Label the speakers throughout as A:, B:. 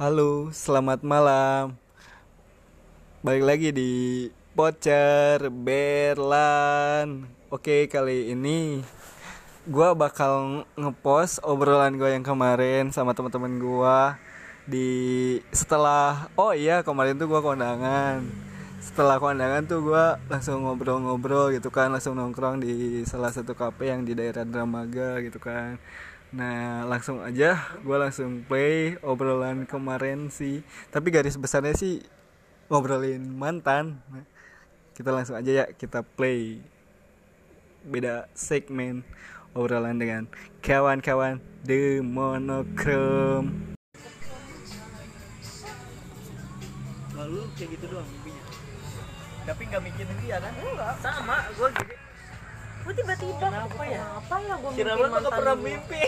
A: Halo, selamat malam. Balik lagi di Pocher Berlan. Oke, kali ini gua bakal ngepost obrolan gua yang kemarin sama teman-teman gua di setelah oh iya kemarin tuh gua kondangan. Setelah kondangan tuh gua langsung ngobrol-ngobrol gitu kan, langsung nongkrong di salah satu kafe yang di daerah Dramaga gitu kan. Nah langsung aja gue langsung play obrolan kemarin sih Tapi garis besarnya sih ngobrolin mantan Nah, Kita langsung aja ya kita play Beda segmen obrolan dengan kawan-kawan The Monochrome
B: Lalu kayak gitu doang mimpinya. Tapi nggak mikirin dia kan?
C: Enggak.
B: Sama, gue gitu.
C: Gue tiba-tiba kenapa ya? Kenapa ya gue
B: Si Ramlan tuh nggak pernah mimpi.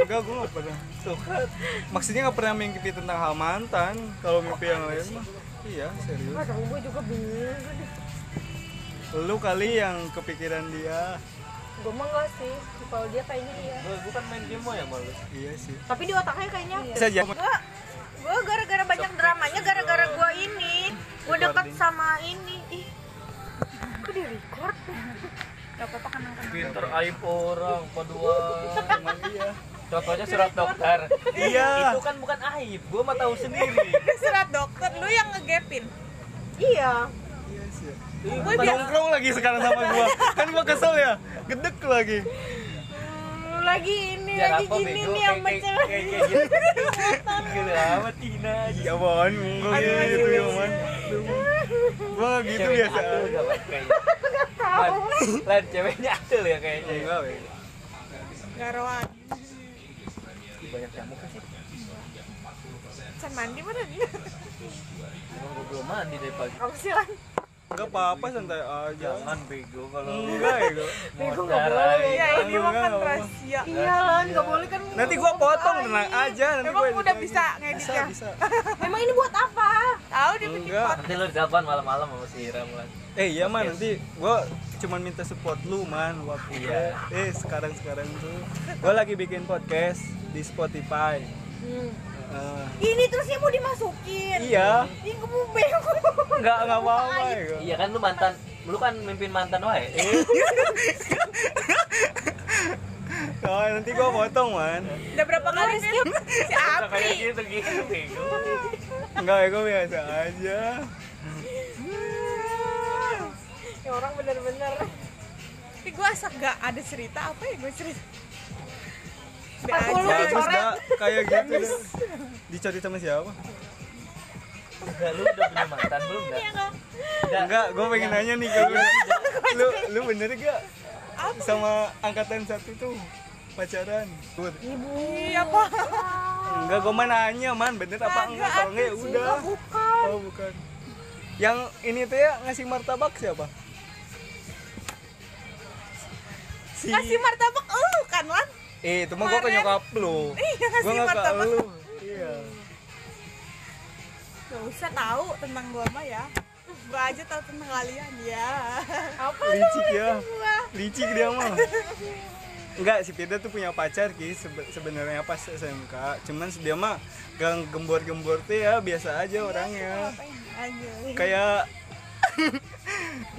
A: Enggak gue gak pernah Tuh kan. Maksudnya gak pernah mimpi tentang hal mantan Kalau mimpi yang lain mah Iya serius
C: Aduh, gue juga bingung gue deh.
A: Lu kali yang kepikiran dia
C: Gue mah enggak sih. Kalau dia kayaknya iya.
B: Gue bukan main game ya malu.
A: Iya sih
C: Tapi di otaknya kayaknya
D: Iya.
A: Bisa aja
C: gue gue gara-gara banyak dramanya gara-gara gue ini gue deket sama ini ih kok di record gak apa-apa kan
B: Pinter aib orang, kedua.
A: Emang iya
B: Contohnya surat dokter.
A: Iya.
B: Itu kan bukan aib, gue mah tahu sendiri.
D: surat dokter lu yang ngegapin
C: iya
A: Iya sih
B: Ih,
D: Gua
B: bukan-
D: bilang-
A: nongkrong lagi sekarang sama gua kan gua kesel ya gedek lagi
C: Hmm, lagi ini
B: Ya,
C: lagi
B: apa,
C: gini
B: bego?
C: nih yang
B: Kayak-
C: macam
B: kayak- kayak- kayak gitu. Gila amat Tina.
A: ya mohon gua
C: Aduh,
A: gitu
C: aduh,
A: ya mohon gua gitu
B: Ceweknya
A: biasa
B: atul nggak, Bang, kayaknya. Lan, Lan, ceweknya atul ya kayaknya.
A: enggak weh.
D: garawan
B: Banyak nyamuk sih.
D: Can mandi mana nih
B: Emang gue belum mandi dari pagi.
C: apa sih lan
A: enggak apa-apa santai aja
B: Jangan bego kalau
A: enggak ya gua.
C: Bego
B: mau
C: nggak
B: cerai.
C: boleh.
D: ya ini
A: Enggak,
D: makan
A: enggak.
D: rahasia
C: iya lan gak boleh kan
A: nanti gua potong tenang
C: iya.
A: aja nanti
D: emang
A: gua
D: udah
A: edit
D: bisa
A: lagi.
D: ngeditnya
A: bisa
C: ya? emang ini buat apa
D: tahu dia bikin
A: enggak
B: Nanti lu delapan malam-malam sama si Ram Lan.
A: eh iya man nanti gua cuman minta support lu man waktu
B: Iya.
A: eh sekarang sekarang tuh gua lagi bikin podcast di Spotify
C: Hmm.
A: Eh,
C: ini terusnya mau dimasukin
A: iya
C: ini gue mau bego
A: enggak enggak apa-apa ya gua.
B: Iya kan lu mantan, lu kan mimpin mantan wae.
A: Oh, nanti gua potong, Man.
D: udah berapa kali skip si Apri
B: Kayak gitu gitu bego.
A: Enggak, ya, gua biasa aja.
C: ya orang bener-bener
D: tapi gue asal gak ada cerita apa ya gue cerita Be
C: Sepatu lu
D: aja.
A: Bagus, Dak. Kayak gitu. Dicari sama siapa?
B: Enggak lu udah punya mantan belum enggak?
A: Enggak, gua pengen nanya nih ke lu. Lu lu bener gak
D: Apa?
A: sama angkatan satu tuh pacaran? Gua-
C: ibu
D: iya apa
A: Enggak, gua mah nanya, Man. Bener apa enggak? Kalau enggak ya udah.
C: Enggak, bukan
A: Oh, bukan. Yang ini tuh ya ngasih martabak siapa? Si
C: Iya.
D: kasih martabak
C: uh,
D: lu kan lan
A: Eh, itu mah gua ke
D: Kemarin.
A: nyokap lu.
D: Iya, ngasih
A: Gua nggak ke
D: martabak.
A: lu. Iya.
D: gak usah tahu tentang gue mah ya gue aja tahu tentang kalian ya
C: apa
A: Licik ya.
D: gue
A: licik dia mah enggak si Firda tuh punya pacar ki sebe- sebenarnya pas SMK cuman dia mah gak gembor-gembor tuh ya biasa aja
D: Iya,
A: orangnya
D: aja
A: kayak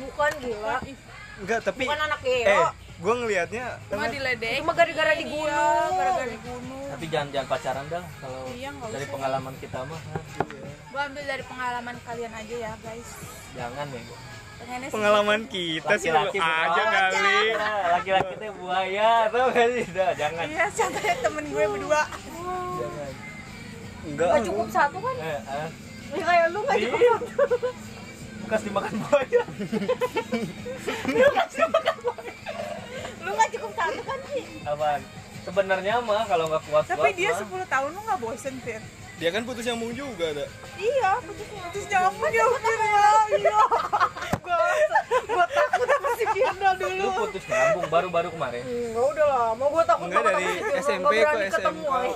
C: bukan gila
A: enggak tapi
C: bukan anak
A: eh
C: geo
A: gue ngelihatnya
D: Cuma diledek
C: cuma gara-gara di gunung
D: gara-gara di gunung
B: Tapi jangan jangan pacaran dah kalau
D: Iya, nggak
B: dari
D: usah.
B: pengalaman kita mah nah,
D: gua ambil dari pengalaman kalian aja ya guys
B: jangan bego.
D: pengennya sih
A: pengalaman kita sih lu
B: Laki-laki
A: aja
B: berpacar.
A: kali
B: Ya, laki-laki teh buaya, tau gak sih? Udah, jangan.
D: iya
C: ya,
D: contohnya temen gue berdua
B: Jangan.
A: enggak
C: nggak cukup satu kan
B: Eh, eh.
C: ya, kayak lu nggak cukup
B: Iya. Bekas dimakan buaya.
C: lu nggak cukup satu kan sih
B: Apaan? Sebenarnya mah kalau nggak kuat
D: tapi
B: kuat
D: dia
B: mah,
D: 10 tahun lu nggak bosen Fir
A: dia kan putus nyambung juga ada
C: iya kan, putus
D: terus jangan pun dia Fir ya iya
C: gua takut sama si Firda dulu
B: lu putus nyambung baru-baru kemarin.
C: Enggak
D: Iya.
C: Hmm, udah lah, mau gua takut
A: Enggak,
C: sama
A: dari
C: temen juga,
A: SMP
C: nggak berani
A: ke
C: ketemu,
A: SMK.
C: eh. ay.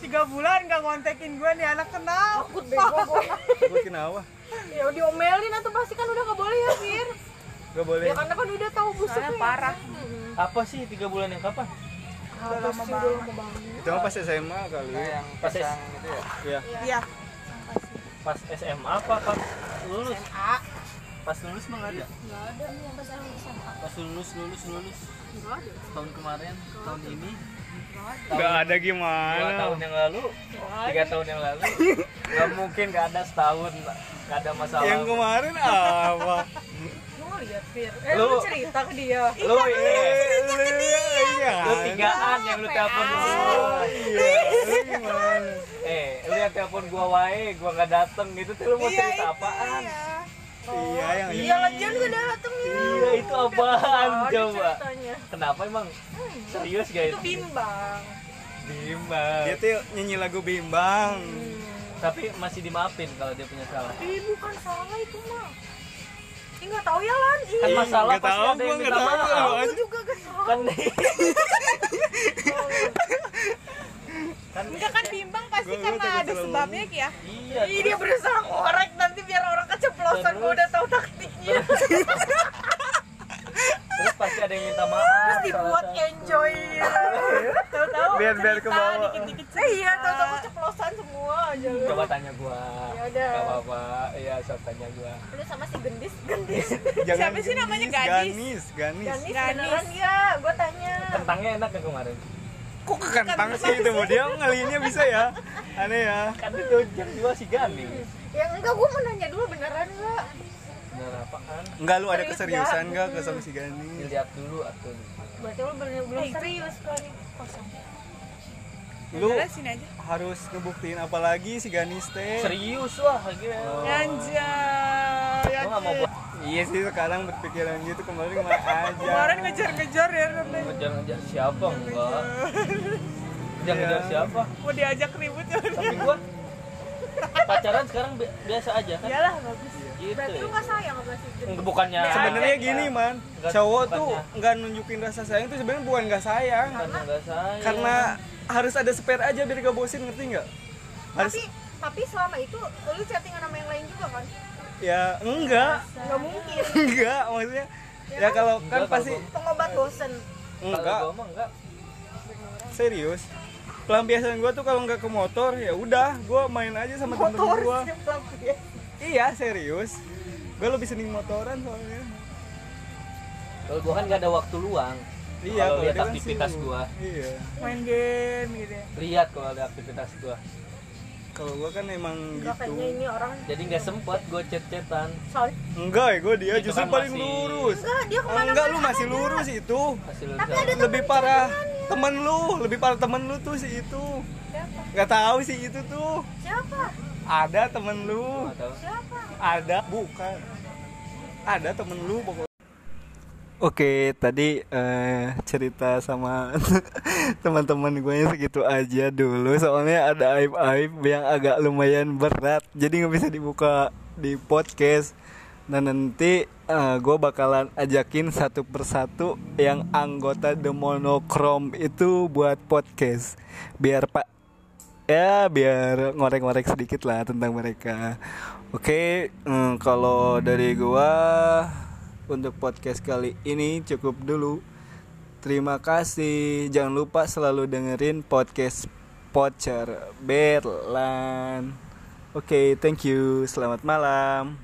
D: tiga bulan gak ngontekin gue nih anak kenal
C: Takut bego gua.
A: gue kenapa
C: Ya diomelin atau pasti kan udah nggak boleh ya, Fir.
A: gak boleh
C: Iya, kan? Ya karena kan udah tahu busuknya.
D: Soalnya parah.
B: Apa sih tiga bulan yang kapan?
D: udah lama banget
A: Itu mah pas SMA kali.
E: Nah, yang
B: Pas S-
E: pasang itu ya
A: Iya.
D: iya
B: pas SMA apa pas lulus
D: SMA
B: pas lulus mah nggak ada pas lulus lulus lulus tahun kemarin tahun ini
A: Enggak ada
B: dua
A: gimana.
B: tahun yang lalu tiga tahun yang lalu nggak mungkin nggak ada setahun nggak ada masalah
A: Yang kemarin apa?
D: lu ngeliat Fir eh
B: Lu-
D: lu, cerita ke dia
B: lu
C: iya,
B: ini
A: Iya.
B: lu tigaan yang lu telepon gua
A: iya.
B: eh lu yang telepon gua wae gua nggak dateng gitu tuh lu mau cerita apaan
A: Iya yang
C: Iya lagian gak dateng ya.
B: iya itu apaan coba
C: Tanya.
B: kenapa emang serius guys
D: itu bimbang
A: Dia
B: bimbang
A: tuh nyanyi lagu bimbang.
B: tapi masih dimaafin kalau dia punya salah
C: Ih bukan salah itu mah. Ih nggak tahu ya Lan. Ih,
B: kan masalah
A: Nggak tahu,
B: pasti ada
A: gua
B: yang
A: nggak
B: minta
A: tahu.
B: maaf
C: Aku juga gak salah.
B: kan kan
D: enggak kan bimbang pasti
A: Gua- gua
D: karena
A: takut
D: ada
A: salah
D: sebabnya ya
B: iya
C: Ih dia berusaha ngorek nanti biar orang keceplosan gue udah tahu taktiknya.
B: terus pasti ada yang minta maaf
C: Terus dibuat
B: salah-salah.
C: enjoy. Tahu-tahu
A: Biar biar ke bawah.
D: dikit-dikit
C: Eh, iya, tahu-tahu keceplosan semua aja lu.
B: coba tanya gua
C: Yaudah.
B: gak apa-apa iya sok tanya gua
C: Lu sama si gendis, gendis.
D: Siapa sih namanya
A: Ganis,
D: gadis?
A: ganis.
C: Ganis
D: Ganis.
C: beneran ya, gue tanya.
B: kentangnya enak gak kemarin
A: Kok kekentang sih itu mau dia ngeliinnya bisa ya? Aneh ya.
B: kan itu jam 2 si Gani
C: Ya enggak, gue mau nanya dulu beneran gak?
B: bener apaan
A: Enggak lu ada
C: Serius
A: keseriusan enggak ke sama si Ganis?
B: lihat dulu atuh
C: Berarti lu bener belum serius kali.
A: Lu
D: Udah, sini aja
A: harus ngebuktiin apa lagi si Ganis teh? Oh.
B: serius wah gila
C: Oh.
D: Anjay,
B: gua gak mau
D: anjay.
B: buat
A: Iya sih sekarang berpikiran gitu kemarin mah aja.
D: Kemarin ngejar-ngejar ya, katanya.
B: ngejar-ngejar siapa enggak jangan ngejar
C: Ya.
A: Iya.
B: siapa
D: mau diajak ribut ya.
B: tapi gua pacaran sekarang bi- biasa aja kan
D: Iyalah bagus.
C: Berarti lu
B: gitu
C: gak sayang sama si gendis.
B: Enggak, bukannya
A: Sebenarnya gini
B: Iya.
A: man,
B: Enggak,
A: cowok tuh
B: bukannya.
A: nggak nunjukin rasa sayang tuh sebenarnya bukan nggak sayang,
B: karena enggak sayang
A: karena harus ada spare aja biar gak bosin ngerti nggak? Harus
C: Iya. Tapi, tapi selama itu lu chattingan sama yang lain juga kan?
A: ya enggak,
C: Gak mungkin.
A: enggak maksudnya ya kalau
B: Enggak,
A: kan
B: kalau
A: pasti
B: gua-
C: Pengobat bosen.
A: enggak
B: Kalau gua mah enggak
A: serius pelampiasan gue tuh kalau nggak ke motor ya udah gue main aja sama temen-temen gue iya serius gue lebih seneng motoran soalnya
B: kalau gua kan gak ada waktu luang
A: iya
B: kalau lihat
A: dia kan
B: aktivitas
A: sibuk.
B: gua
A: iya
D: Main game gitu ya.
B: lihat kalau ada aktivitas gua
A: kalau gue kan emang
C: Gak
A: gitu
C: kayaknya ini orang
B: jadi nggak sempet gue chat-chatan
C: soalnya.
A: enggak ya gue dia
B: Itu
A: justru
B: kan
A: paling
B: masih-
A: lurus
C: Enggak, dia kemana-mana
A: enggak lu masih
C: ada.
A: lurus itu
B: hasil
A: lebih parah temen lu lebih parah temen lu tuh si itu
C: Siapa?
A: nggak tahu sih itu tuh
C: Siapa?
A: ada temen lu
B: atau
C: Siapa?
A: ada bukan ada temen lu pokoknya Oke, tadi eh, cerita sama teman-teman gue yang segitu aja dulu Soalnya ada aib-aib yang agak lumayan berat Jadi nggak bisa dibuka di podcast Dan nanti eh, gue bakalan ajakin satu persatu yang anggota The Monochrome itu buat podcast Biar Pak ya biar ngorek-ngorek sedikit lah tentang mereka. Oke, mm, kalau dari gua untuk podcast kali ini cukup dulu. Terima kasih. Jangan lupa selalu dengerin podcast Pocher Berlan. Oke, thank you. Selamat malam.